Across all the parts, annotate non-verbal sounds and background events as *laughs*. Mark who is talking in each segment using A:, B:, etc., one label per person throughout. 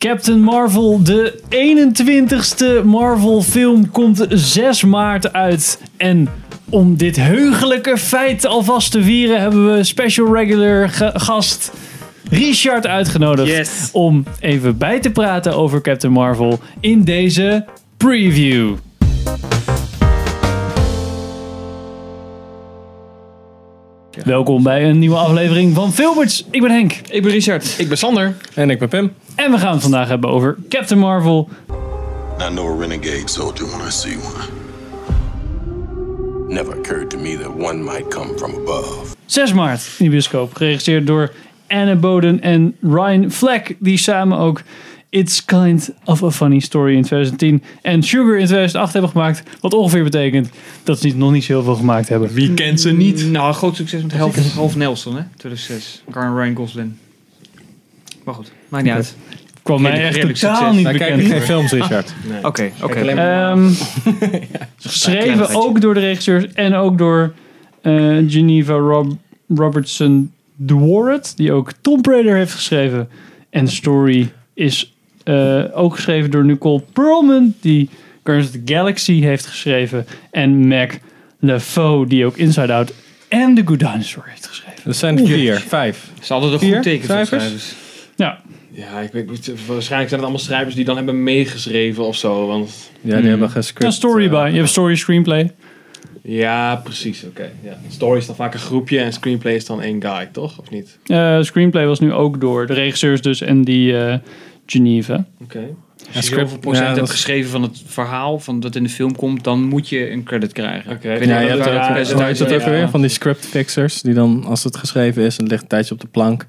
A: Captain Marvel, de 21ste Marvel film, komt 6 maart uit. En om dit heugelijke feit alvast te vieren, hebben we special regular ge- gast Richard uitgenodigd.
B: Yes.
A: Om even bij te praten over Captain Marvel in deze preview. Welkom bij een nieuwe aflevering van Filmers. Ik ben Henk.
B: Ik ben Richard. Ik ben Sander.
C: En ik ben Pim.
A: En we gaan het vandaag hebben over Captain Marvel,
D: I know a renegade soldier when I see one. Never occurred to me that one might come from above.
A: 6 maart in de bioscoop. Geregisseerd door Anne Boden en Ryan Fleck. Die samen ook It's Kind of a Funny Story in 2010 en Sugar in 2008 hebben gemaakt. Wat ongeveer betekent dat ze niet, nog niet zo heel veel gemaakt hebben.
C: Wie kent ze niet?
B: Nou, groot succes met Half, half Nelson, hè? 2006. Garn Ryan Goslin. Maar goed, maakt niet uit.
A: kwam mij
B: redelijk-
A: echt
B: redelijk
A: totaal
B: succes.
A: niet
C: Wij
A: bekend.
C: kijken geen films, Richard.
B: Oké, oké.
A: Ehm, geschreven ook door de regisseurs en ook door eh, Geneva Rob- Robertson Dwart, die ook Tomb Raider heeft geschreven. En de story is eh, ook geschreven door Nicole Perlman, die Guardians of the Galaxy heeft geschreven. En Mac LeFaux, die ook Inside Out en The Good Dinosaur heeft geschreven.
C: Dat zijn er vier, vijf.
B: Ze hadden er
C: Vier
B: goed teken van
C: cijfers?
B: schrijvers.
A: Ja,
E: Ja, ik weet, niet, waarschijnlijk zijn het allemaal schrijvers die dan hebben meegeschreven of zo. Want
C: Ja, die hebben gescript.
A: een story
C: eh,
A: bij. Je hebt story screenplay.
E: ja, precies. Oké. ja. Story is dan vaak een groepje en screenplay is dan één guy, toch? Of niet?
A: Eh, screenplay was nu ook door de regisseurs dus en die eh, Geneva.
E: Oké.
B: Als je
C: script-
B: zoveel procent
C: ja,
B: hebt
C: dat-
B: geschreven van het verhaal van dat in de film komt, dan moet je een credit krijgen.
E: Oké.
B: Ik weet
C: Ja,
B: niet of
C: je hebt
B: dat
E: Ja,
B: een
C: ook- hoe
B: percentage
C: heet dat
E: ja,
C: ook
B: is,
C: weer?
B: maar-
C: Van die script fixers, die dan, als het geschreven is en het ligt een tijdje op de plank,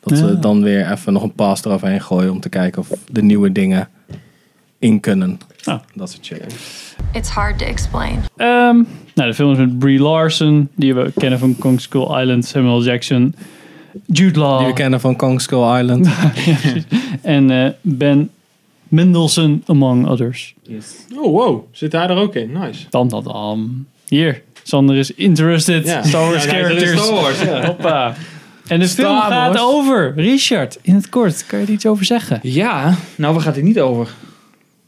C: dat
A: Ja.
C: ze dan weer even nog een pass eroverheen gooien om te kijken of de nieuwe dingen in kunnen.
A: Ah.
C: Dat soort shit.
F: It's hard to explain.
A: Ehm, nou, de film is met Brie Larson, die we kennen van Kong Skull Island, Samuel Jackson, Jude
C: Die we
A: Law
C: kennen van Kong Skull Island. Eh,
A: en eh, Ben Mendelssohn, among others.
E: Oh, wow. Zit hij er ook in? Nice.
A: Dan dat dan. Hier, Sander is interested.
E: Ja.
A: Star Wars
E: Ja, hij is er in
A: characters.
E: Star Wars, ja.
A: Hoppa. En de film
B: Wars.
A: gaat over Richard. In het kort, kan je er iets over zeggen?
B: Ja, nou, waar gaat het niet over?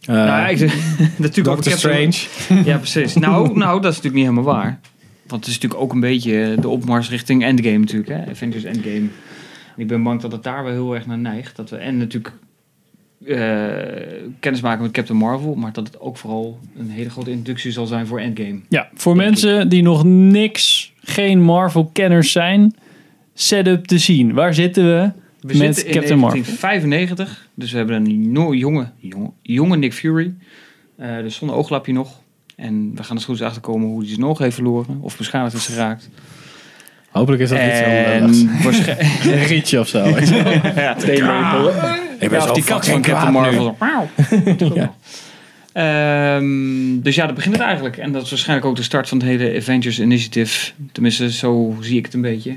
C: Eh,
B: nou, ik, *laughs* natuurlijk over
C: Doctor
B: Captain-
C: Strange.
B: Ja, precies. Nou, nou, dat is natuurlijk niet helemaal waar. Want het is natuurlijk ook een beetje de opmars richting Endgame natuurlijk, hè? Avengers Endgame. En ik ben bang dat het daar wel heel erg naar neigt. Dat we en natuurlijk eh, kennis maken met Captain Marvel, maar dat het ook vooral een hele grote introductie zal zijn voor Endgame.
A: Ja, voor mensen die nog niks, geen Marvel-kenners zijn, setup te zien. Waar zitten we?
B: We
A: Met
B: zitten in
A: Captain Marvel.
B: 1995, dus we hebben een no- jonge, jonge, jonge Nick Fury. Eh, dus zonder ooglapje nog. En we gaan er goed eens achterkomen hoe hij zijn oog heeft verloren of beschadigd is geraakt.
C: Hopelijk is dat iets heel
B: en
C: lulligs.
B: waarschijnlijk...
C: Een *laughs* rietje of zo. weet je wel. Ik ben
B: Ja, of die kat van Captain Marvel. Wauw. Ja. Ehm, dus ja, dat begint het eigenlijk. En dat is waarschijnlijk ook de start van het hele Avengers Initiative. Tenminste, zo zie ik het een beetje.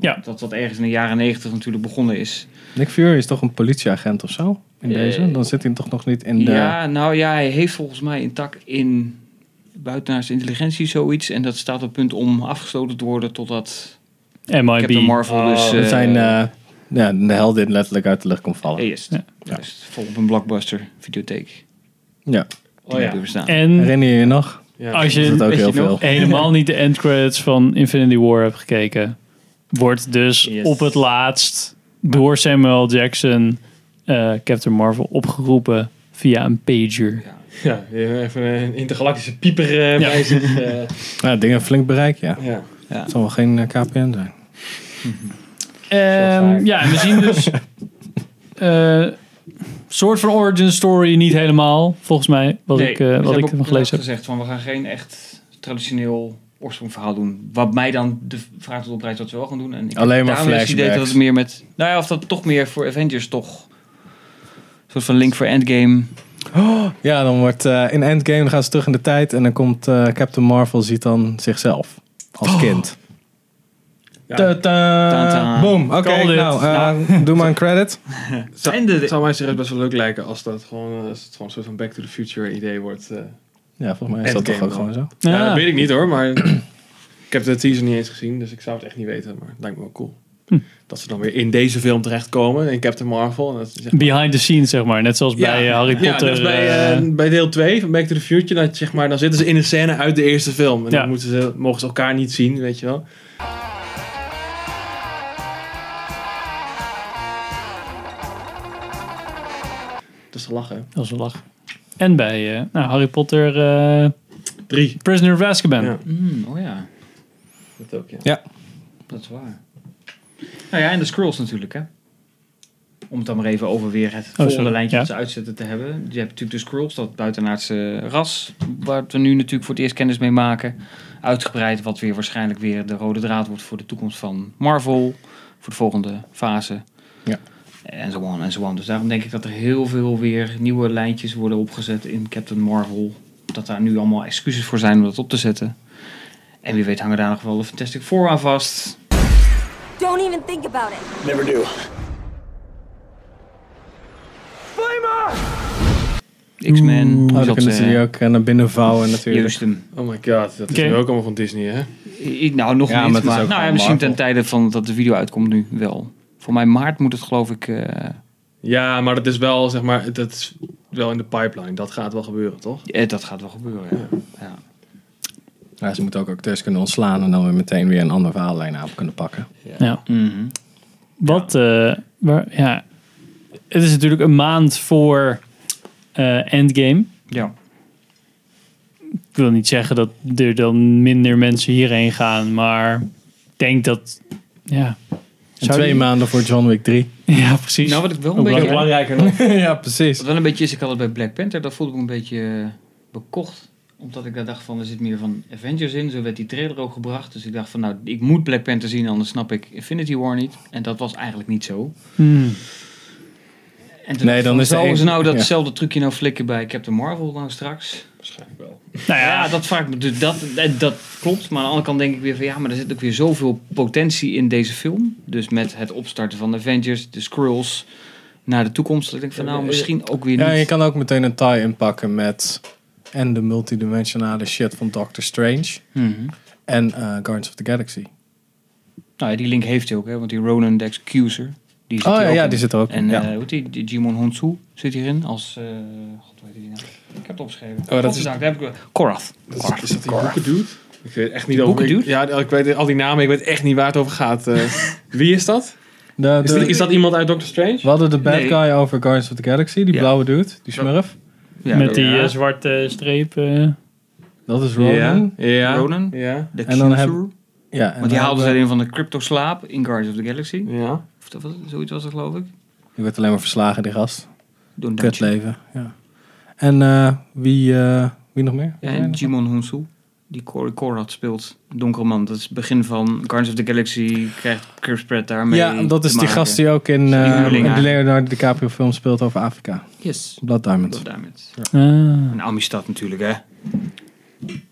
A: Ja.
B: Dat dat ergens in de jaren negentig natuurlijk begonnen is.
C: Nick Fury is toch een politieagent of zo? In
B: Eh,
C: deze? Dan zit hij toch nog niet in de...
B: Ja, nou ja, hij heeft volgens mij een tak in buitenaardse intelligentie zoiets. En dat staat op het punt om afgesloten te worden totdat Captain
A: MIB.
B: Marvel dus...
C: dat
B: eh,
C: zijn eh, ja, de heldin letterlijk uit de lucht komt vallen.
B: eh, Juist,
A: Ja.
B: Juist. Vol op een blockbuster videotheek.
C: Ja.
B: Die
E: Oh ja.
B: hebben we staan.
A: En
C: Herinner je je nog?
E: Ah, Ja.
A: als
C: Dat is
A: je
C: ook
B: weet
C: heel
B: je
C: veel.
B: nog?
A: helemaal niet de end credits van Infinity War hebt gekeken, wordt dus
E: Yes.
A: op het laatst door Samuel Jackson eh, Captain Marvel opgeroepen via een pager.
E: Ja, even een intergalactische pieper eh,
A: Ja. Ehm,
E: bij zich. *laughs* eh.
C: Nou, dingen flink bereik, ja.
E: ja.
C: Het zal wel geen eh, KPN zijn.
A: Ehm,
E: vaak.
A: ja, en we zien
E: *laughs*
A: dus eh soort van origin story niet helemaal, volgens mij, wat
B: Nee,
A: ik, eh,
B: ze
A: wat
B: hebben
A: ik
B: ook
A: heb gelezen heb.
B: gezegd van we gaan geen echt traditioneel oorsprongverhaal doen. Wat mij dan de vraag tot oprijst wat ze wel gaan doen. En ik
C: Alleen
B: heb
C: Oh, maar
B: daarom juist het idee dat
C: flashbacks.
B: het meer met, nou ja, of dat toch meer voor Avengers toch een soort van link voor Endgame.
C: Ja, dan wordt eh, in Endgame dan gaan ze terug in de tijd en dan komt eh, Captain Marvel ziet dan zichzelf als kind.
E: Ja.
C: Ta-ta.
B: Ta-ta.
C: Boom. Oké,
A: Called it.
C: nou, eh, *laughs* doe maar een credit.
E: Zou-
B: En de-
E: Het zou mij serieus best wel leuk lijken als, dat gewoon, eh, als het gewoon een soort van Back to the Future idee wordt. eh.
C: Ja, volgens mij is dat
E: Endgame
C: toch ook
E: dan.
C: gewoon zo.
E: Ja,
A: Ah.
E: *clears throat* dat weet ik niet hoor, maar ik heb de teaser niet eens gezien, dus ik zou het echt niet weten. Maar het lijkt me wel cool.
A: Hm.
E: Dat ze dan weer in deze film terechtkomen, in Captain Marvel. En dat ze, zeg
A: Behind the scenes, zeg maar. Net zoals bij eh, Harry
E: ja,
A: Potter.
E: net als bij,
A: eh,
E: eh, bij deel 2 van Back to the Future, dat, zeg maar, dan zitten ze in een scène uit de eerste film. En
A: Ja.
E: dan moeten ze, mogen ze elkaar niet zien, weet je wel. Dat is lachen.
A: dat is een lach. En bij eh, nou, Harry Potter eh,
E: Drie.
A: Prisoner of Azkaban.
E: Ja.
B: Mm, oh ja,
E: Dat ook, ja.
B: dat is waar. Nou ja, en de scrolls natuurlijk, hè. Om het dan maar even over weer het volgende
A: Oh, sorry.
B: lijntje
A: Ja.
B: dat ze uitzetten te hebben. Je hebt natuurlijk de scrolls, dat buitenaardse ras, waar we nu natuurlijk voor het eerst kennis mee maken. Uitgebreid, wat weer waarschijnlijk weer de rode draad wordt voor de toekomst van Marvel. Voor de volgende fase.
C: Ja.
B: En zo on en zo on. Dus daarom denk ik dat er heel veel weer nieuwe lijntjes worden opgezet in Captain Marvel. Dat daar nu allemaal excuses voor zijn om dat op te zetten. En wie weet hangen daar nog wel de Fantastic Four aan vast.
G: Don't even think about it.
D: Never do.
B: X-Men.
C: Oh,
B: hoe
C: dan
B: zat
C: kunnen ze die ook eh, naar binnen vouwen natuurlijk.
B: Juist hem.
E: Oh my god, dat
A: Oké.
E: is nu ook allemaal van Disney, hè?
B: I- Nou, nog
C: Ja,
B: niet.
C: maar het is
B: Maar,
C: ook
B: nou, ja,
C: gewoon
B: misschien ten
C: Marvel.
B: tijde van dat de video uitkomt nu wel. Voor mij maart moet het geloof ik... eh,
E: Ja, maar dat is wel, zeg maar, dat is wel in de pipeline. Dat gaat wel gebeuren, toch?
B: eh, dat gaat wel gebeuren. Ja. Ja.
C: Ja, ze moeten ook acteurs kunnen ontslaan en dan weer meteen weer een andere verhaallijn aan kunnen pakken.
A: Ja.
B: Mhm.
A: Wat, eh, waar, ja. Het is natuurlijk een maand voor eh, Endgame.
B: ja.
A: Ik wil niet zeggen dat er dan minder mensen hierheen gaan, maar ik denk dat, ja. *laughs*
C: En
A: Zou
C: twee
A: die-
C: maanden voor John Wick 3.
A: Ja, precies.
B: Nou, wat ik wel een
A: Ook
B: beetje...
E: Belangrijker nog.
C: ja, precies.
B: *laughs* Wat wel een beetje is, ik had het bij Black Panther, dat voelde ik me een beetje eh, bekocht. Omdat ik daar dacht van, er zit meer van Avengers in. Zo werd die trailer ook gebracht. Dus ik dacht van, nou, ik moet Black Panther zien, anders snap ik Infinity War niet. En dat was eigenlijk niet zo.
A: Hmm.
B: En toen
C: Nee,
B: dacht ik
C: dan
B: van,
C: is de
B: zouden ze
C: een-
B: nou
C: ja.
B: datzelfde trucje nou flikken bij Captain Marvel nou straks?
E: Waarschijnlijk wel.
A: Nou
B: Ja,
A: ja,
B: dat vraag ik me. dus Dat, en dat klopt. Maar aan de andere kant denk ik weer van, ja, maar er zit ook weer zoveel potentie in deze film. Dus met het opstarten van de Avengers, de Skrulls, naar de toekomst. Dat ik denk van, nou, misschien ook weer niet.
C: Ja, je kan ook meteen een tie inpakken met en de multidimensionale shit van Doctor Strange
B: Mhm.
C: en eh, Guardians of the Galaxy.
B: Nou ja, die link heeft hij ook, hè? want die Ronan de Excuser. Die zit
C: Oh
B: hier
C: ja,
B: ook
C: ja,
B: in.
C: die zit er ook
B: En
C: in. Ja.
B: eh, hoe heet die? die? Jimon Honsu zit hierin als. eh God, hoe heet die nou? Ik heb het opgeschreven.
C: Oh, dat
B: Godzijdank,
C: is-
B: daar heb ik wel- Korath. Korath.
E: Is dat die boekendude? Ik weet echt niet
B: Die
E: over. Ik,
B: boekendude?
E: ja, ik weet al die namen, ik weet echt niet waar het over gaat. eh. wie is dat?
C: De-
E: Is,
C: de-
E: dat? is dat iemand uit Doctor Strange?
C: we hadden de bad
B: Nee.
C: guy over Guardians of the Galaxy, die
B: Ja.
C: blauwe dude, die smurf.
B: Ja,
A: met die
E: ja.
A: eh, zwarte streep. eh.
C: Dat is Ronan.
E: Ja.
B: Ronan.
E: Ja.
B: de
C: En dan
B: Excuser.
C: hebben- Ja, en
B: Want die
C: dan
B: haalden ze
C: hebben-
B: erin van de cryptoslaap in Guardians of the Galaxy.
E: Ja.
B: Of dat was, zoiets was dat, geloof ik.
C: Die werd alleen maar verslagen, die gast.
B: Door een
C: Kut
B: Dutchie.
C: leven, ja. En eh, wie, eh, wie nog meer?
B: Ja, en Jimon Honsu. Die Cor- Korath speelt. Donkere man. Dat is het begin van Guardians of the Galaxy. Krijgt Chris Pratt daarmee
C: ja, dat
B: te
C: is die
B: maken.
C: gast die ook in
B: Die
C: eh,
B: huurling
C: de
B: eigenlijk.
C: Leonardo DiCaprio film speelt over Afrika.
B: Yes.
C: Blood Diamond.
B: Blood Diamond.
A: Ah. Nou,
B: En Amistad natuurlijk, hè.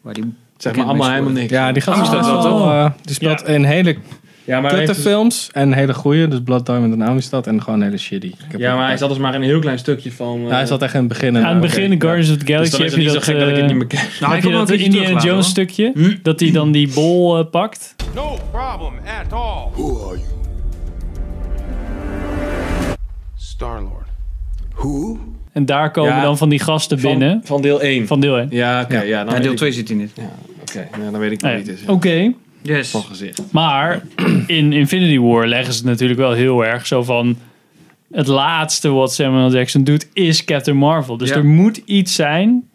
B: Waar die
E: Zeg maar
B: bekend mee
E: allemaal helemaal
B: scoorde.
E: niks.
C: Ja, die gast
A: Oh.
C: speelt wel toch? eh, die speelt in hele
E: Ja, maar, hij
C: kutte
E: heeft- dus-
C: films en hele goede. Dus Blood Diamond en Amistad en gewoon hele shitty. Ik heb
E: ja, maar hij zat dus maar in een heel klein stukje van... eh,
C: Ja, hij zat echt in het begin. en-
A: Aan het
C: oké.
A: begin in Guardians of the
E: dus
A: Galaxy
E: dan is
A: heb
E: het
A: je
E: niet
A: dat,
E: zo gek dat ik
A: eh,
E: het niet meer ken.
A: heb
B: Nou, ik
A: je
B: kon wel
A: dat
B: een keertje
A: Indiana
B: teruglaten,
A: Jones
B: hoor.
A: stukje?
E: Hm?
A: Dat hij dan die bol eh, pakt.
D: Who are you?
H: Star Lord.
D: Who?
A: En daar komen
E: Ja.
A: dan van die gasten
E: Van-
A: binnen.
E: Van deel 1.
A: Van deel Ah, 1.
E: Ja, oké. ja, dan
B: Ja,
E: weet
B: deel
E: ik-
B: 2 zit hij niet.
E: Ja, oké. nou, dan weet ik nog
A: Nee,
E: niet eens.
A: Oké,
B: Yes.
E: Van gezicht.
A: maar in Infinity War leggen ze het natuurlijk wel heel erg zo van... Het laatste wat Samuel Jackson doet is Captain Marvel. Dus
B: Ja.
A: er moet iets zijn.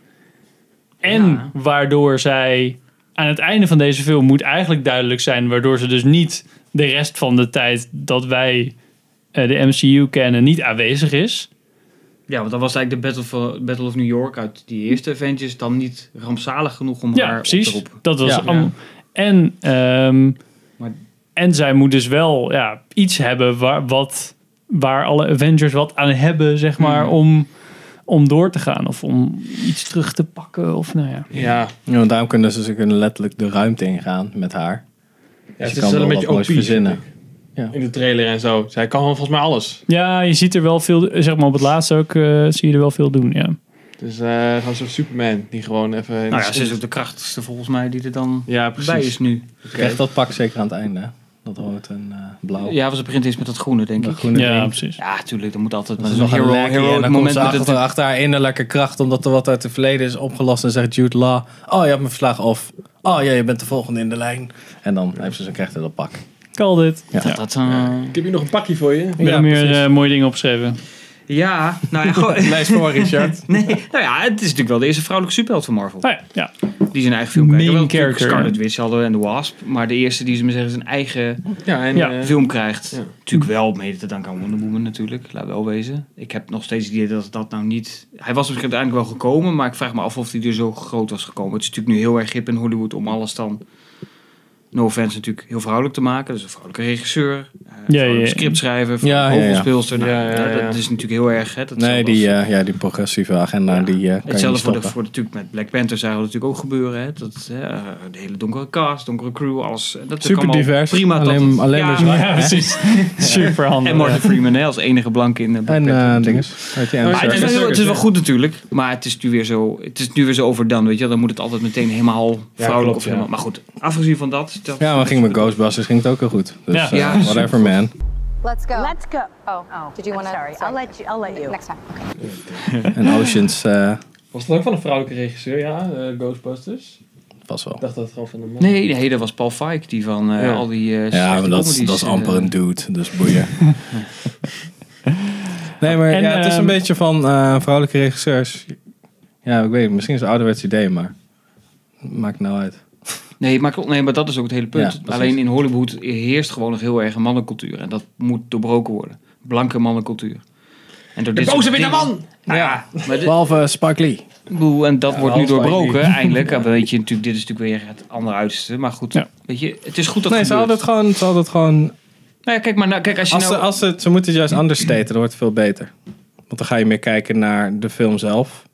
A: En
B: Ja.
A: waardoor zij aan het einde van deze film moet eigenlijk duidelijk zijn... waardoor ze dus niet de rest van de tijd dat wij eh, de MCU kennen niet aanwezig is.
B: Ja, want dan was eigenlijk de Battle of, Battle of New York uit die eerste Avengers dan niet rampzalig genoeg om
A: Ja,
B: haar op
A: precies.
B: te roepen.
A: Dat was
C: Ja.
A: allemaal- En, ehm,
B: Maar-
A: en zij moet dus wel ja, iets hebben waar, wat, waar alle Avengers wat aan hebben, zeg maar, om, om door te gaan. Of om iets terug te pakken. Of nou ja.
E: Ja,
C: Ja, want daarom kunnen ze, ze kunnen letterlijk de ruimte ingaan met haar. Dus
E: Ja,
C: je kan wel wat moois
E: OP,
C: verzinnen.
E: vind ik. In de trailer en zo. Zij kan volgens mij alles.
A: Ja, je ziet er wel veel, eh, zeg maar op het laatste ook, eh, zie je er wel veel doen. Ja.
E: Dus eh gewoon zo'n Superman die gewoon even... in
B: Nou
E: de-
B: ja, ze is ook de krachtigste volgens mij die er dan bij
E: Ja, precies.
B: is nu.
C: Krijgt dat pak zeker aan het einde. hè? Dat rood en eh, blauw.
B: Ja, was het begint eens met dat groene, denk
C: Dat
B: ik.
C: groene
A: Ja,
C: ding.
A: precies.
B: Ja, tuurlijk, dat moet altijd.
C: Dat
B: Maar
C: is
B: zo'n
C: nog een
B: hero,
C: lekkie.
B: hero
C: en dan komt
B: moment
C: ze
B: moet
C: achter,
B: het...
C: achter haar innerlijke kracht, omdat er wat uit het verleden is opgelost. En zegt Jude Law, oh, je hebt me verslagen. Of, oh ja, je bent de volgende in de lijn. En dan heeft ze zo'n krijgt dat pak.
A: Call dit.
C: Ja.
A: Ja.
B: Dat, eh,
E: Ik heb hier nog een pakje voor je.
A: Ik heb
C: Ja,
A: meer
C: precies.
A: eh, mooie dingen opgeschreven. Oh
B: ja, nou *laughs* ja, gewoon...
C: Lees voor, Richard.
B: Nee, nou ja, het is natuurlijk wel de eerste vrouwelijke superheld van Marvel.
A: Nou ja, ja.
B: Die zijn eigen film kijkt.
A: Main
B: Wel natuurlijk
A: character,
B: Scarlet Witch hadden we en The Wasp. Maar de eerste die ze me zeggen zijn eigen
E: Ja, en
A: Ja.
E: eh,
B: film krijgt.
E: Ja.
B: Natuurlijk wel mede te danken aan Wonder Woman natuurlijk. Laat wel wezen. Ik heb nog steeds het idee dat dat nou niet... Hij was misschien uiteindelijk wel gekomen. Maar ik vraag me af of hij er zo groot was gekomen. Het is natuurlijk nu heel erg hip in Hollywood om alles dan... No offense natuurlijk heel vrouwelijk te maken. Dus een vrouwelijke regisseur. eh, vrouwelijke
A: ja, ja.
B: scriptschrijver. Nou
C: Ja, ja,
B: Ja,
C: ja.
E: Ja, ja, ja.
B: Dat is natuurlijk heel erg... Hè, dat
C: Nee,
B: zal
C: die,
B: wel-
C: eh, ja, die progressieve agenda,
B: Ja.
C: die eh, kan je niet
B: Hetzelfde voor, de,
C: stoppen.
B: voor de, natuurlijk met Black Panther zou dat natuurlijk ook gebeuren. Hè? Dat, hè, eh, de hele donkere cast, donkere crew, alles. eh, Dat is
C: Super
B: allemaal
C: divers.
B: Prima dat
C: Alleen-
B: het-
C: alleen
B: ja,
A: Ja,
C: maar zwart. hè?
A: precies. Super handig.
B: En Martin Freeman hè, als enige blank in de Black
C: En
B: Panther
C: eh
B: natuurlijk.
C: dinges. Weet je, en
B: Maar het, is wel,
C: Circus.
B: heel- het is wel goed natuurlijk, maar het is nu weer zo, het is nu weer zo overdone, weet je. wel. Dan moet het altijd meteen helemaal vrouwelijk
E: klopt,
B: of helemaal.
E: ja.
B: Maar goed, afgezien van dat. dat
C: Ja, maar ging met Ghostbusters ging het ook heel goed. Dus
A: Ja.
C: eh,
B: Ja,
C: whatever man.
I: Let's go.
J: Let's go.
I: Oh,
J: Oh,
I: Did you
J: I'm
I: want to?
J: Sorry, I'll let you. I'll let you.
I: Next time. Okay.
C: En Oceans eh
E: was dat ook van een vrouwelijke regisseur? Ja, eh, Ghostbusters.
C: was wel.
E: Ik dacht dat het gewoon van een man
B: Nee, nee, dat was Paul Feig, die van eh,
E: Ja.
B: al die eh,
C: Ja,
B: slechte
C: maar dat, is-
B: comedies,
C: dat is
B: eh,
C: amper een dude, dus
B: *laughs*
C: boeien. nee, maar
A: En,
C: ja, het is een
A: ehm,
C: beetje van eh, vrouwelijke regisseurs. Ja, ik weet het, misschien is het een ouderwets idee, maar maakt nou uit.
B: Nee maar, klopt. nee, maar dat is ook het hele
C: Ja,
B: punt.
C: precies.
B: Alleen in Hollywood heerst gewoon nog heel erg een mannencultuur. En dat moet doorbroken worden. Blanke mannencultuur. En door dit soort dingen- Ja, maar dit-
C: Behalve Spike Lee.
B: ik bedoel, en dat wordt nu
C: behalve
B: doorbroken, eindelijk. Ja, weet je, natuurlijk, dit is natuurlijk weer het andere uiterste. Maar goed,
A: Ja.
B: weet je, het is goed dat
C: Nee, ze hadden het gewoon... Ze, hadden het gewoon
B: Nou ja, kijk, maar nou, kijk, als je
C: als ze,
B: nou...
C: als ze, ze moeten het juist understaten, dan wordt het veel beter. Want dan ga je meer kijken naar de film zelf...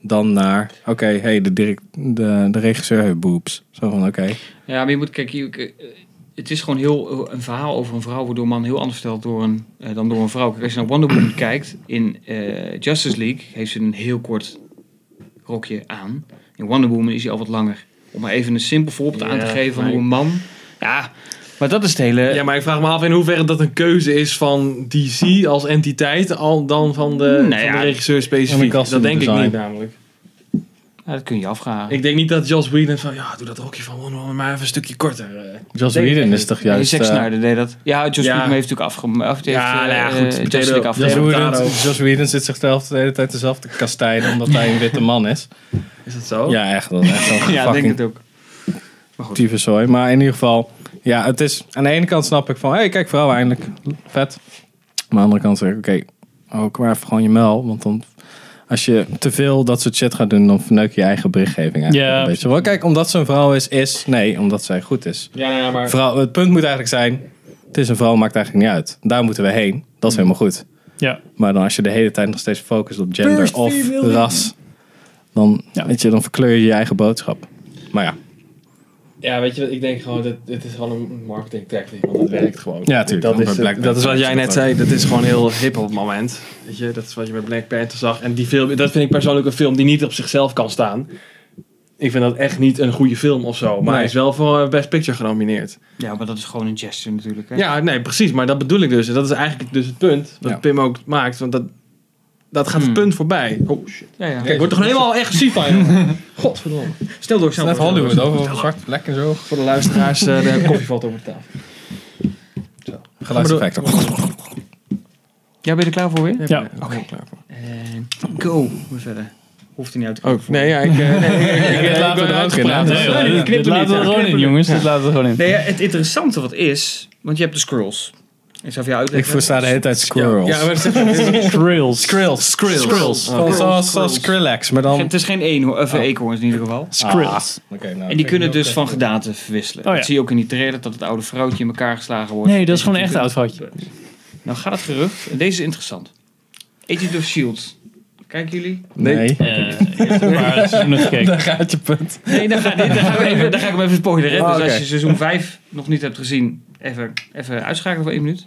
C: Dan naar, oké, hey, de, direct, de, de regisseur heeft boobs. Zo van, oké.
B: Ja, maar je moet, kijk, je- eh, het is gewoon heel, eh, een verhaal over een vrouw... waardoor een man heel anders verteld door een, eh, dan door een vrouw. Kijk, als je naar Wonder Woman *clears throat* kijkt, in eh, Justice League heeft ze een heel kort rokje aan. In Wonder Woman is hij al wat langer. Om maar even een simpel voorbeeld aan te
E: Ja,
B: geven van
E: maar
B: hoe een man... Ja, maar dat is het hele...
E: Ja, maar ik vraag me af in hoeverre dat een keuze is van DC als entiteit al dan van de,
B: Nou
E: van
B: ja,
E: de regisseur
C: van de
E: specifiek.
C: custom
E: Dat denk ik
C: design.
E: niet namelijk.
B: Ja, dat kun je je afvragen.
E: Ik denk niet dat Joss Whedon van ja, doe dat rokje van Wonder Woman maar even een stukje korter. eh.
C: Joss
E: Denk ik
C: Whedon is
E: niet.
C: toch
B: Ja,
C: juist...
B: Zack
C: eh,
B: Snyder deed dat. Ja, Josh
E: Ja.
B: Whedon heeft natuurlijk afgemaakt.
E: Ja, nou ja, goed,
B: Justice
E: potato-
B: League
C: Joss
E: Ja,
B: eh, afgemaakt.
C: Whedon,
E: Taro.
C: Joss Whedon zit zichzelf de hele tijd dezelfde te kastijden omdat hij een witte man is.
E: Is dat
C: *laughs*
E: zo?
C: Ja, echt. Dat is echt zo'n
B: Ja, ik denk
C: fucking
B: het ook.
C: tyfuszooi. Maar in ieder geval, ja, het is... Aan de ene kant snap ik van, hé, hey, kijk, vrouw eindelijk. Vet. Maar aan de andere kant zeg ik, oké, ook maar even gewoon je mel. Want dan, als je te veel dat soort shit gaat doen, dan verneuk je je eigen berichtgeving eigenlijk
A: Ja.
C: een beetje. Wel, kijk, omdat ze een vrouw is, is... Nee, omdat zij goed is.
E: Ja, nou ja, maar
C: Vrouw, het punt moet eigenlijk zijn, het is een vrouw, maakt eigenlijk niet uit. Daar moeten we heen. Dat is helemaal goed.
A: Mm. Ja.
C: Maar dan als je de hele tijd nog steeds focust op gender of ras, dan, weet je, dan verkleur je je eigen boodschap. Maar ja,
E: ja, weet je, wat, ik denk gewoon dat dit is gewoon een marketing tactic, want dat werkt gewoon.
C: Ja, tuurlijk,
E: Dat
C: want
E: is,
C: bij Black
E: het- dat is wat
C: Panther
E: jij
C: is
E: net
C: dat
E: zei. Dat is gewoon heel hip op het moment. Weet je, dat is wat je bij Black Panther zag. En die film, dat vind ik persoonlijk een film die niet op zichzelf kan staan. Ik vind dat echt niet een goede film of zo. Maar hij is wel voor eh, Best Picture genomineerd.
B: Ja, maar dat is gewoon een gesture natuurlijk. Hè?
E: Ja, nee, precies. Maar dat bedoel ik dus. En dat is eigenlijk dus het punt
C: Ja.
E: wat
C: Hmm.
E: Pim ook maakt. Want dat, dat gaat het punt voorbij. Oh shit.
B: ja, ja.
E: Kijk, wordt toch helemaal agressief van,
C: *laughs*
E: jongen. Godverdomme.
B: Stel door, snel door.
C: over zwarte plek en zo.
E: Voor de luisteraars, eh, de
C: *laughs*
E: koffie valt over de tafel.
C: Geluidseffecten.
B: Ja, ben je er klaar voor weer?
A: Ja.
E: Oké. klaar voor.
B: Eh, go. We verder. Hoeft hij niet uit te
E: Oh, nee, ja, ik... eh, nee,
C: *laughs*
E: ik- ik- ik
C: laten
E: ben
C: we er ook in, hè?
E: uitgepraat.
A: Nee, joh, dit- dit laten we er gewoon in, jongens. Dit laten we er gewoon in.
B: Nee, ja, het interessante wat is... Want je hebt de scrolls. Ik zou voor jou
C: Ik
B: uitleggen.
C: versta de hele tijd squirrels.
E: Ja, maar het is-
A: Krills.
C: Skrills. Skrills.
E: Oh,
C: Van Zoals zoals Skrillex, maar dan...
B: Het is geen eenhoorn, of eh, eekhoorns in ieder geval.
A: Skrills.
C: Ah, nou,
B: En die kunnen dus van gedaante verwisselen.
A: Oh, ja.
B: Dat zie je ook in die trailer, dat het oude vrouwtje in elkaar geslagen wordt.
A: Nee, dat is gewoon
B: je
A: echt een oud foutje.
B: Nou gaat het gerucht, en deze is interessant. Agent of S.H.I.E.L.D. E Kijken jullie?
C: Nee.
A: *laughs*
C: *laughs*
A: gekeken.
C: Gaat je punt.
B: Nee, dan ga, nee, dan ga, ik, hem even, dan ga ik hem even spoileren. hè.
C: Oh,
B: dus
C: oké.
B: als je seizoen 5 nog niet hebt gezien, even, even uitschakelen voor één minuut.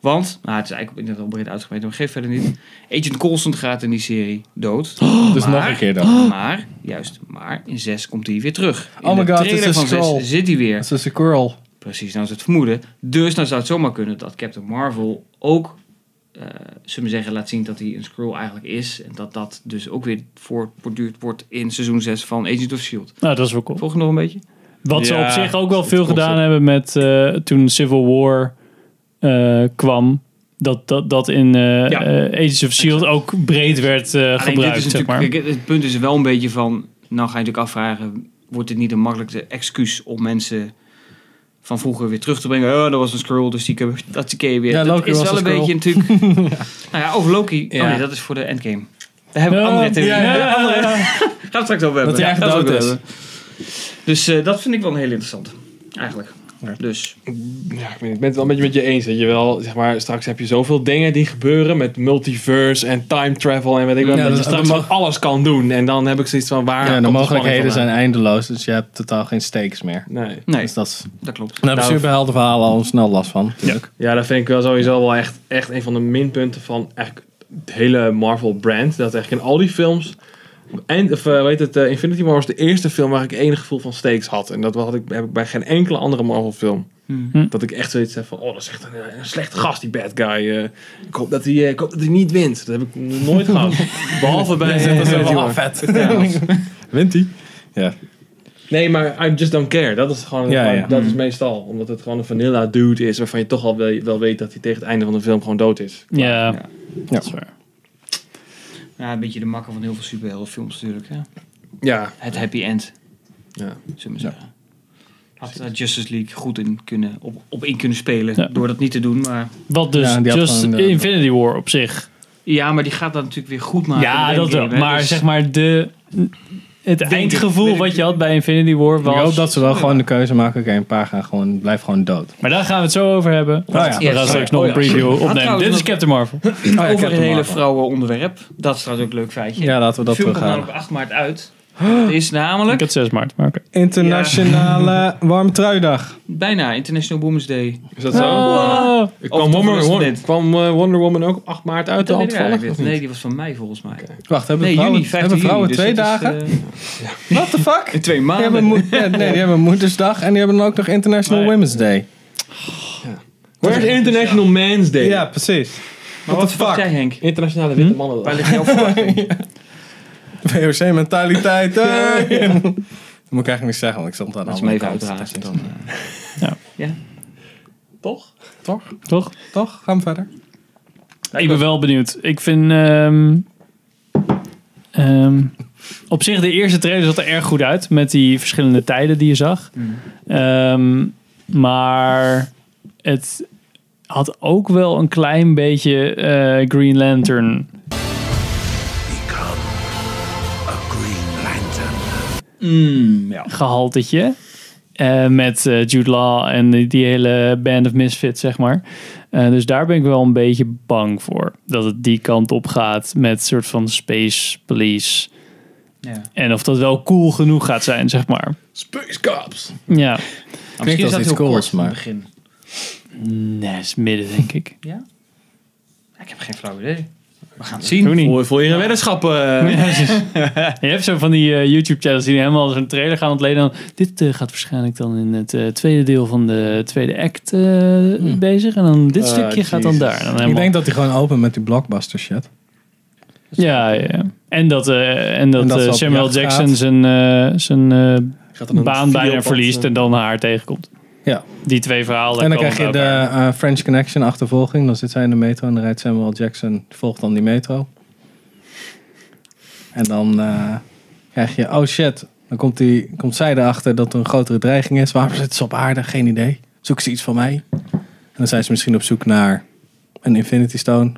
B: Want, nou het is eigenlijk inderdaad al breed uitgebreid, maar geef verder niet. Agent Coulson gaat in die serie dood.
C: Dus
B: Maar-
C: nog een keer dan.
B: Maar, juist, maar in 6 komt hij weer terug. In
C: Oh my
B: de
C: God, het
B: trailer
C: is een
B: van
C: scroll.
B: 6 zit hij weer.
C: Dat is een squirrel.
B: Precies, nou is het vermoeden. Dus dan zou het zomaar kunnen dat Captain Marvel ook, eh zullen we zeggen, laat zien dat hij een Skrull eigenlijk is. En dat dat dus ook weer voortborduurd wordt in seizoen 6 van Agent of S.H.I.E.L.D.
A: Nou, dat is wel cool.
B: E Volg je nog een beetje?
A: Wat ze
E: Ja,
A: op zich ook wel
E: dat
A: veel
E: klopt,
A: gedaan
E: ja.
A: hebben met eh, toen Civil War eh, kwam. Dat, dat, dat in eh
B: Ja.
A: eh, Agents of S.H.I.E.L.D. ook breed werd eh,
B: Alleen dit
A: gebruikt,
B: is
A: zeg
B: natuurlijk-
A: maar.
B: kijk, het punt is wel een beetje van, nou ga je natuurlijk afvragen, wordt dit niet een makkelijke excuus om mensen van vroeger weer terug te brengen? Oh, dat was een scroll, dus die kunnen we- dat die ken je weer.
C: Ja,
B: dat
C: Loki
B: is
C: was
B: wel
C: een
B: beetje natuurlijk.
C: *laughs*
B: *laughs* Nou ja, over Loki.
C: Ja.
B: Oh nee, dat is voor de endgame. Daar hebben we
A: Ja,
B: andere theorie.
A: ja, ja, ja.
B: *laughs* Andere- Gaan we het straks over hebben.
C: hij echt
B: Gaan we het
C: dood
B: ook
C: is.
B: over hebben. Dus eh, dat vind ik wel een heel interessant. Eigenlijk.
C: Ja.
B: Dus
E: Ja, ik, weet niet, ik ben het wel een beetje met je eens. Dat je wel, zeg maar, straks heb je zoveel dingen die gebeuren met multiverse en time travel en weet ik wat.
C: Ja,
E: dat je
C: dat-
E: straks
C: dat
E: van alles kan doen. En dan heb ik zoiets van waar.
C: Ja,
E: komt
C: de
E: spanning
C: mogelijkheden zijn
E: vandaan?
C: eindeloos, dus je hebt totaal geen stakes meer.
E: Nee.
B: nee,
C: Dus dat is...
B: dat klopt.
C: Nou, de
E: Nou,
C: superheldenverhalen al snel last van. natuurlijk.
E: Ja, dat vind ik wel sowieso wel echt, echt een van de minpunten van eigenlijk het hele Marvel-brand. Dat eigenlijk in al die films. En, of eh, weet het, eh, Infinity War was de eerste film waar ik enig gevoel van stakes had. En dat had ik, heb ik bij geen enkele andere Marvel-film.
C: Hmm.
A: Hm.
E: Dat ik echt zoiets heb van: oh, dat is echt een, een slechte gast, die bad guy. eh. ik, hoop dat hij, eh, ik hoop dat hij niet wint. Dat heb ik nog nooit
C: *laughs*
E: gehad. Behalve bij. eh,
C: Dat is
E: Infinity
C: wel
E: War.
C: vet.
E: Ja.
C: Wint hij? Ja.
E: Nee, maar I just don't care. Dat is gewoon,
C: Ja,
E: gewoon-
C: ja. Hmm.
E: dat is meestal. Omdat het gewoon een vanilla dude is waarvan je toch al wel, wel weet dat hij tegen het einde van de film gewoon dood is.
A: Ja,
B: Ja.
C: Ja.
B: Ja, een beetje de makker van heel veel superheldenfilms natuurlijk. Hè?
E: Ja,
B: Het happy end.
E: Ja.
B: Zullen we zeggen. Had eh, Justice League goed in kunnen, op, op in kunnen spelen.
A: Ja.
B: Door dat niet te doen. Maar,
A: Wat dus
C: Ja, die had
A: Just
C: gewoon, eh,
A: Infinity War op zich.
B: ja, maar die gaat dat natuurlijk weer goed maken.
A: ja,
B: in
A: dat wel.
B: Endgame, hè.
A: Maar
B: Dus-
A: zeg maar de, het eindgevoel
B: weet ik-
A: wat je had bij Infinity War
C: Ik
A: was...
C: hoop dat ze wel gewoon de keuze maken. Oké, een paar gaan gewoon, blijf gewoon dood.
A: Maar daar gaan we het zo over hebben.
C: ja.
A: We gaan
B: Yes.
A: straks
E: Oh
A: nog
E: ja.
A: een preview opnemen.
B: trouwens
A: Dit is
B: nog-
A: Captain Marvel.
B: over een
C: Captain
B: hele
C: Marvel.
B: vrouwenonderwerp. Dat is trouwens ook een leuk feitje.
C: Ja, laten we
B: dat
C: dat
B: film gaat
C: terughalen.
B: namelijk op 8 maart
C: *gasps*
B: uit. Het is
A: Ik
B: namelijk
A: had 6 maart, maar oké.
B: *laughs*
C: Internationale Warmtruidag.
B: bijna International Women's Day.
E: is dat zo?
A: Ah.
E: Ik
B: Of toch
E: kwam, Wonder,
B: was het
E: Wonder-
B: dit?
E: kwam eh, Wonder Woman ook op 8 maart uit de
B: Dat weet
E: hand
B: ik eigenlijk
E: vallen?
B: niet. Nee, die was van mij volgens mij.
C: Wacht, hebben
B: Nee,
C: vrouwen,
B: juni, 15
C: hebben vrouwen
B: juni, dus
C: twee
B: het is,
C: dagen?
B: eh,
C: *laughs* What the fuck?
B: in twee
C: Die hebben,
B: maanden.
C: moe- ja, nee, die hebben Moedersdag en die hebben dan ook nog International
A: Nee.
C: Women's Day.
E: Where's International Man's Day?
C: Ja, precies.
B: Maar
C: What
B: wat
C: the
B: verwacht
C: fuck?
B: jij Henk?
C: *laughs*
E: Internationale
A: Hm?
E: Witte Mannen.
B: Waar ligt jouw verwachting? *laughs*
C: VOC-mentaliteit. hey! *laughs* Dat moet ik eigenlijk niet zeggen, want ik stond daar
B: Laat
C: aan
B: ze me
C: de
B: even
C: andere kant.
B: uitdragen. Dan, eh.
E: Toch?
C: Toch?
A: Toch?
C: Toch? Gaan we verder?
A: Nou, ik ben wel benieuwd. Ik vind. ehm, ehm, op zich, de eerste trailer zat er erg goed uit. Met die verschillende tijden die je zag. Ehm, maar het had ook wel een klein beetje eh, Green Lantern.
D: Become a Green Lantern.
A: gehaltetje. Eh, met eh, Jude Law en die, die hele band of misfits, zeg maar. Eh, dus daar ben ik wel een beetje bang voor. Dat het die kant op gaat met soort van space police.
B: Ja.
A: En of dat wel cool genoeg gaat zijn, zeg maar.
E: Space Cops.
A: Ja.
C: Klinkt als iets cools, maar...
B: begin.
A: Nee, is midden, denk ik.
B: Ja? Ik heb geen flauw idee. We gaan het
A: Doe
B: zien.
A: niet.
E: Voel, voel je een weddenschap? eh?
A: *laughs* Je hebt zo van die eh, YouTube-channels die helemaal zo'n trailer gaan ontleden. Dan, dit eh, gaat waarschijnlijk dan in het eh, tweede deel van de tweede act eh, bezig. En dan dit
E: Ah,
A: stukje
B: Oh,
A: gaat dan
E: Jesus.
A: daar. Dan
C: Ik
A: helemaal-
C: denk dat hij gewoon open met die blockbuster shit.
A: Ja, ja. ja. En dat, eh, en dat,
C: En dat ze
A: eh,
C: op
A: Samuel
C: jacht
A: Jackson
C: gaat.
A: zijn, eh, zijn eh,
E: Gaat dan een
A: baan bijna
E: videopad,
A: verliest
E: eh,
A: en dan haar tegenkomt.
C: Ja.
A: Die twee verhalen.
C: en dan
A: komen
C: krijg je de
A: bij elkaar.
C: eh, French Connection achtervolging. Dan zit zij in de metro en dan rijdt Samuel Jackson, volgt dan die metro. En dan eh, krijg je, oh shit, dan komt, die, komt zij erachter dat er een grotere dreiging is. Waarom zitten ze op aarde? Geen idee. Zoek ze iets van mij? En dan zijn ze misschien op zoek naar een Infinity Stone.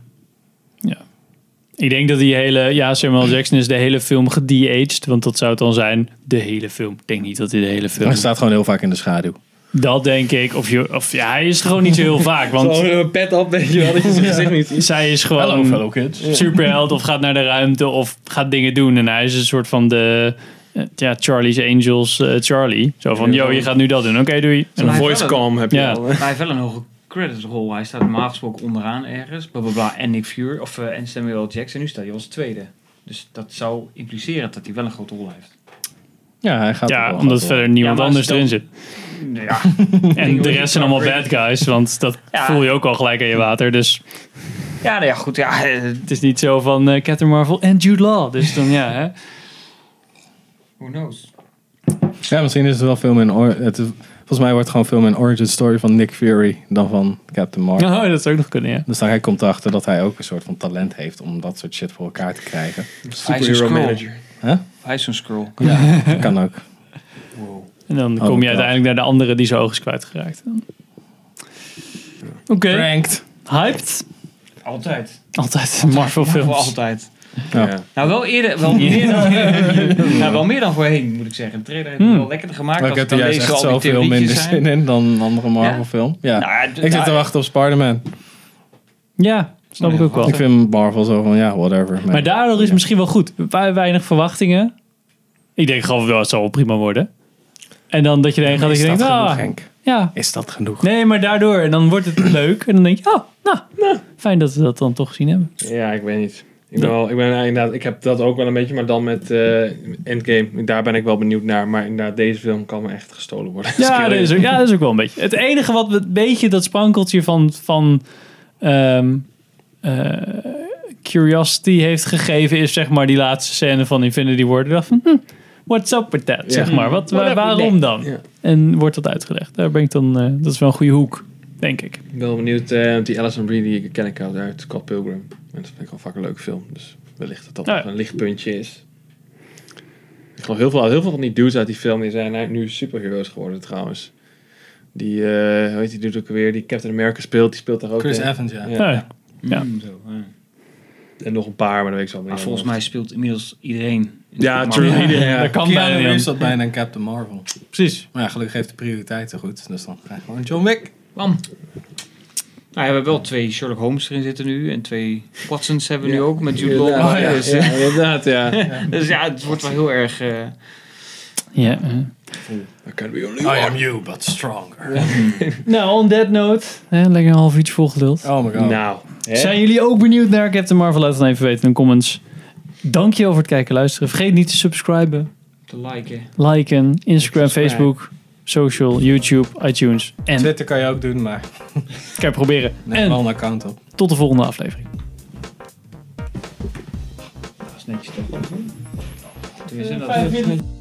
A: Ik denk dat die hele... Ja, Samuel Jackson is de hele film gedeaged. Want dat zou het dan zijn. De hele film. Ik denk niet dat hij de hele film...
C: Hij staat gewoon heel vaak in de schaduw.
A: Dat denk ik. Of, je, of ja, hij is er gewoon niet zo heel vaak. Want
E: Gewoon een pet op, weet je wel, dat je zijn gezicht niet ziet.
A: zij is gewoon
C: kids.
A: superheld. Of gaat naar de ruimte. Of gaat dingen doen. En hij is een soort van de... eh, Ja, Charlie's Angels eh, Charlie. Zo van, yo, je gaat nu dat doen. Oké, doei. En
E: Een
A: dan-
B: Maar-
E: voice cam heb je
A: Ja.
E: al.
B: Maar hij heeft wel een hoge creditrol. Hij staat normaal gesproken onderaan ergens. Blablabla. En Nick Fury. Of, eh, en Samuel Jackson. Nu staat hij als tweede. Dus dat zou impliceren dat hij wel een grote rol heeft.
C: Ja, hij gaat
A: Ja,
C: wel-
A: omdat
C: gaat wel.
A: verder niemand
B: Ja, maar
A: anders
B: stel- *laughs*
A: erin zit.
B: Ja,
A: En de rest zijn allemaal bad guys, want dat
B: Ja.
A: voel je ook al gelijk aan je water. Dus
B: ja, nou ja goed. Ja, eh,
A: het is niet zo van eh Captain Marvel en Jude Law. Dus dan ja, hè.
B: who knows?
C: Ja, misschien is het wel veel meer een... or- Het, is- volgens mij wordt het gewoon veel meer een origin story van Nick Fury dan van Captain Marvel.
A: Oh, dat zou ook nog kunnen, ja.
C: Dus dan hij komt erachter dat hij ook een soort van talent heeft om dat soort shit voor elkaar te krijgen.
B: Hij is een
E: Superhero
B: scroll.
E: manager.
B: Hij is een scroll.
C: Dat kan ook.
A: En dan
C: Oh,
A: kom je
C: ja.
A: uiteindelijk naar de andere die zijn oog is kwijtgeraakt. Oké,
C: Pranked.
A: hyped.
B: Altijd.
A: Altijd Marvel
B: Voor
A: films.
B: altijd.
C: Ja.
B: Nou, wel eerder, wel meer dan, nou, wel meer dan voorheen, moet ik zeggen. De trailer heeft het wel lekkerder gemaakt.
C: Maar ik
B: als
C: heb
B: dan
C: er juist
B: lees
C: echt
B: al die
C: zoveel
B: theorietjes
C: minder
B: zijn.
C: zin in dan een andere Marvel
B: Ja?
C: film. Ja.
B: Nou, d-
C: ik zit
B: nou,
C: te wachten op Spider-Man.
A: Ja, snap ik ook wel.
C: Ik vind Marvel zo van, ja, whatever. man.
A: Maar daardoor is misschien wel goed. Wij- Weinig verwachtingen. Ik denk gewoon, wel, het zal wel prima worden. En dan dat je erheen gaat dat
C: is
A: je
C: dat
A: denkt,
C: genoeg,
A: ah,
C: Henk?
A: ja.
C: Is dat genoeg?
A: Nee, maar daardoor. En dan wordt het leuk. En dan denk je, oh, nou, fijn dat we dat dan toch gezien hebben.
E: Ja, ik weet niet. Ik ben, wel, ik ben eh, inderdaad, ik heb dat ook wel een beetje, maar dan met eh, Endgame. Daar ben ik wel benieuwd naar. Maar inderdaad, deze film kan me echt gestolen worden.
A: Ja,
E: *laughs*
A: dat
E: Scary.
A: is, ook- ja, dat is ook wel een beetje. Het enige wat we- een beetje dat sprankeltje van, van ehm, eh, Curiosity heeft gegeven, is zeg maar die laatste scène van Infinity War. Ik dacht van, hm, what's up with that? Zeg maar, Wat, wa- waarom dan?
E: Ja.
A: En wordt dat uitgelegd? Daar ben ik dan, eh, dat is wel een goede hoek, denk ik.
E: Ik ben wel benieuwd, eh, want die Alison Brie die ken ik al uit Scott Pilgrim. En dat vind ik wel vaak een leuke film. Dus wellicht dat dat
A: Ja.
E: nog een lichtpuntje is. Ik geloof heel veel, heel veel van die dudes uit die film die zijn eigenlijk nu superheroes geworden trouwens. Die, eh hoe heet die dude ook weer, die Captain America speelt, die speelt daar ook
C: Chris
E: in.
C: Evans, ja.
E: Ja.
A: Nou, ja. Ja.
B: Mm, zo, ja.
E: En nog een paar, maar dat weet ik zo niet.
B: Maar Ah, volgens mij speelt inmiddels iedereen. in
E: Ja,
B: Supermarkt.
E: true. Iedereen, ja.
A: dat kan
C: Keanu
A: bijna
C: Reeves
A: niet.
C: zat bijna in Captain Marvel.
A: Precies.
C: Maar ja, gelukkig heeft de prioriteiten goed. Dus dan ga je gewoon John Wick.
B: Bam. Nou ja, we hebben wel twee Sherlock Holmes erin zitten nu. En twee Watsons hebben we nu ook met Jude Law.
E: Ja,
C: Oh,
E: ja,
B: dus,
E: ja, inderdaad, ja.
B: *laughs* dus ja, het wordt wel heel erg... eh,
A: Ja. eh.
E: There can be only
C: I
E: one.
C: am you, but stronger.
A: Nou, on that note, hè, lekker een half uurtje volgeduld.
C: Oh my god.
E: Nou, hè?
A: Zijn jullie ook benieuwd naar Captain Marvel? Laat het dan even weten in de comments. Dankjewel voor het kijken en luisteren. Vergeet niet te subscriben,
B: te liken.
A: liken, Instagram,
E: Subscribe.
A: Facebook, social, YouTube, iTunes. En kan
C: Twitter kan je ook doen, maar
A: je proberen.
C: neem wel
A: En
C: een account op.
A: tot de volgende aflevering.
B: Dat is netjes toch? Tenminste, dat is-